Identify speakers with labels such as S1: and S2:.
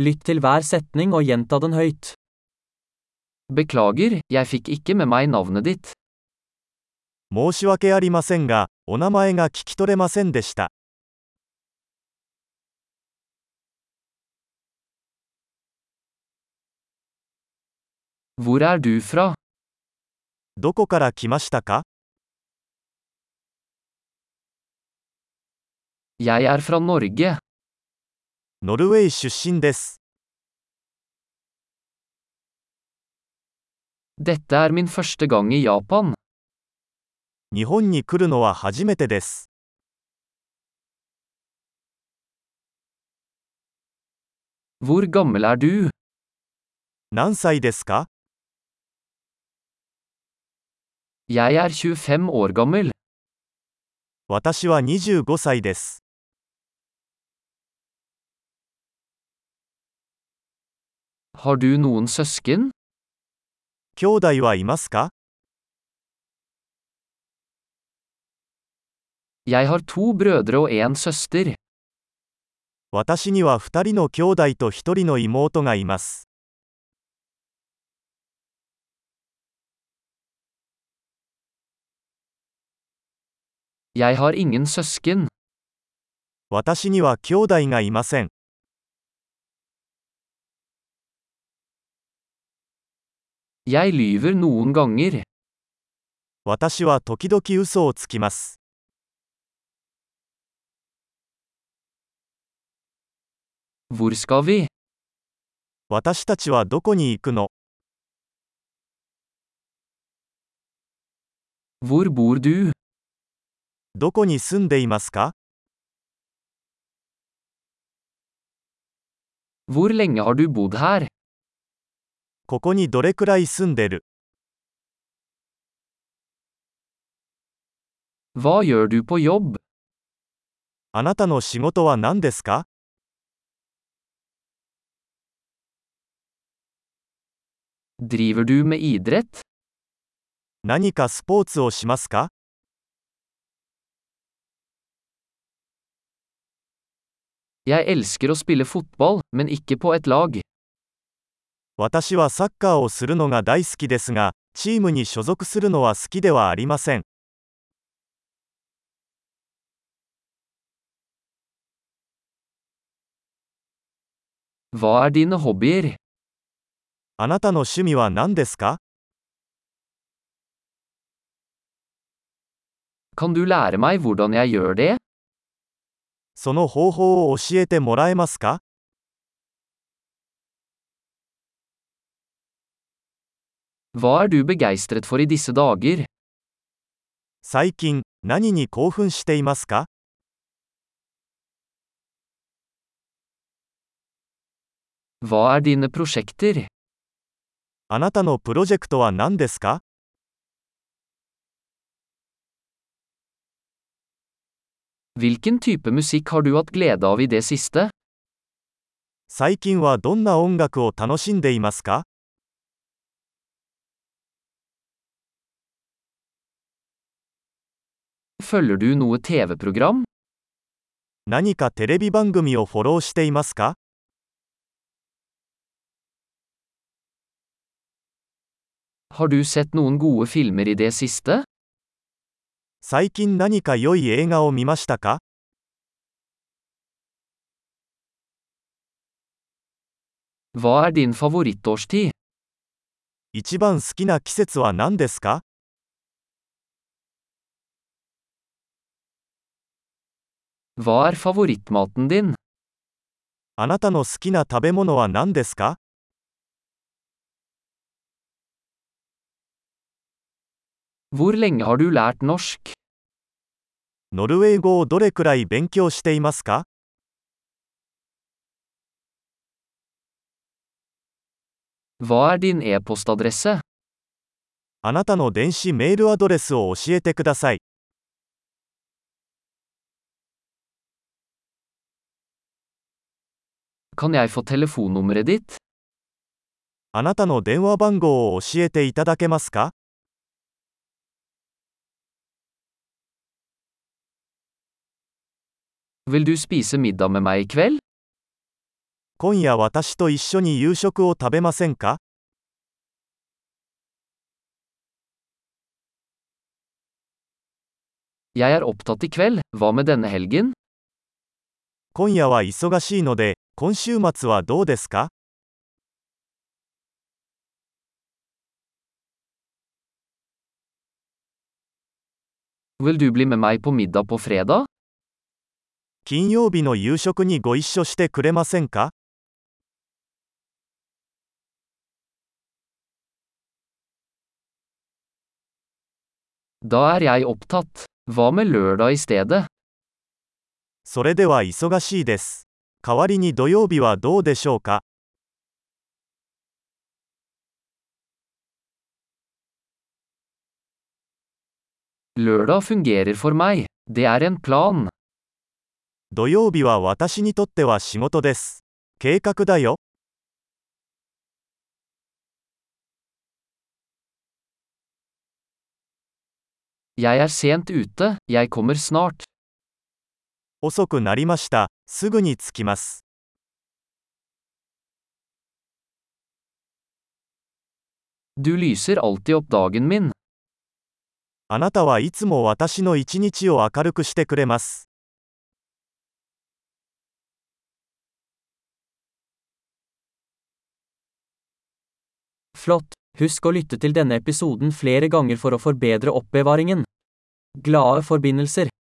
S1: Lytt til hver setning og gjenta den høyt. Beklager, jeg fikk ikke med meg navnet ditt.
S2: 申し訳ありませんが、お名前が聞き取れませんでした。
S1: Hvor er du fra?
S2: どこから来ましたか
S1: Jeg er fra Norge.
S2: ノルウェー出身です。
S1: Dette er min første gang i Japan.
S2: 日本に来るのは初めてです。
S1: Hvor gammel er du?
S2: 何歳ですか
S1: Jeg er 25 år gammel.
S2: 私は25歳です。
S1: Har du noen søsken?
S2: 兄弟はいますか
S1: Jeg har to brødre og en søster.
S2: 私には2人の兄弟と1人の妹がいます。
S1: Jeg har ingen søsken.
S2: 私には兄弟がいません。
S1: Jeg lyver noen ganger.
S2: 私は時々嘘をつきます。
S1: Hvor skal vi?
S2: 私たちはどこに行くの
S1: Hvor bor du?
S2: どこに住んでいますか
S1: Hvor lenge har du bodd her?
S2: ここにどれくらい住んでる
S1: Hva gjør du på jobb?
S2: あなたの仕事は何ですか
S1: Driver du med idrett?
S2: 何かスポーツをしますか
S1: Jeg elsker å spille fotball, men ikke på et lag.
S2: 私はサッカーをするのが大好きですが、チームに所属するのは好きではありません。
S1: Hva er dine hobbyer?
S2: あなたの趣味は何ですか
S1: Kan du lære meg hvordan jeg gjør det?
S2: その方法を教えてもらえますか
S1: Hva er du begeistret for i disse dager?
S2: 最近、何に興奮していますか
S1: Hva er dine prosjekter?
S2: あなたのプロジェクトは何ですか
S1: Hvilken type musikk har du hatt glede av i det siste?
S2: 最近はどんな音楽を楽しんでいますか
S1: Følger du noe TV-program?
S2: 何かテレビ番組をフォローしていますか
S1: Har du sett noen gode filmer i det siste?
S2: 最近何か良い映画を見ましたか
S1: Hva er din favorittårstid?
S2: 一番好きな季節は何ですか
S1: Hva er favorittmaten din?
S2: あなたの好きな食べ物は何ですか
S1: Hvor lenge har du lært norsk?
S2: ノルウェー語をどれくらい勉強していますか
S1: Hva er din e-postadresse?
S2: あなたの電子メールアドレスを教えてください。
S1: Kan jeg få telefonnummeret ditt?
S2: あなたの電話番号を教えていただけますか
S1: Vil du spise middag med meg i kveld?
S2: 今夜私と一緒に夕食を食べませんか
S1: Jeg er opptatt i kveld, hva med denne helgen?
S2: 今夜は忙しいので、今週末はどうですか
S1: Vil du bli med meg på middag på fredag?
S2: 金曜日の夕食にご一緒してくれませんか
S1: Da er jeg opptatt. Hva med lørdag i stedet?
S2: それでは忙しいです。代わりに土曜日はどうでしょうか
S1: Lørdag fungerer for meg. Det er en plan.
S2: 土曜日は私にとっては仕事です。計画だよ。
S1: Jeg er sent ute, jeg kommer snart.
S2: 遅くなりました。すぐに着きます。
S1: Du lyser alltid opp dagen min.
S2: あなたはいつも私の一日を明るくしてくれます。
S3: Flott! Husk å lytte til denne episoden flere ganger for å forbedre oppbevaringen. Glade forbindelser!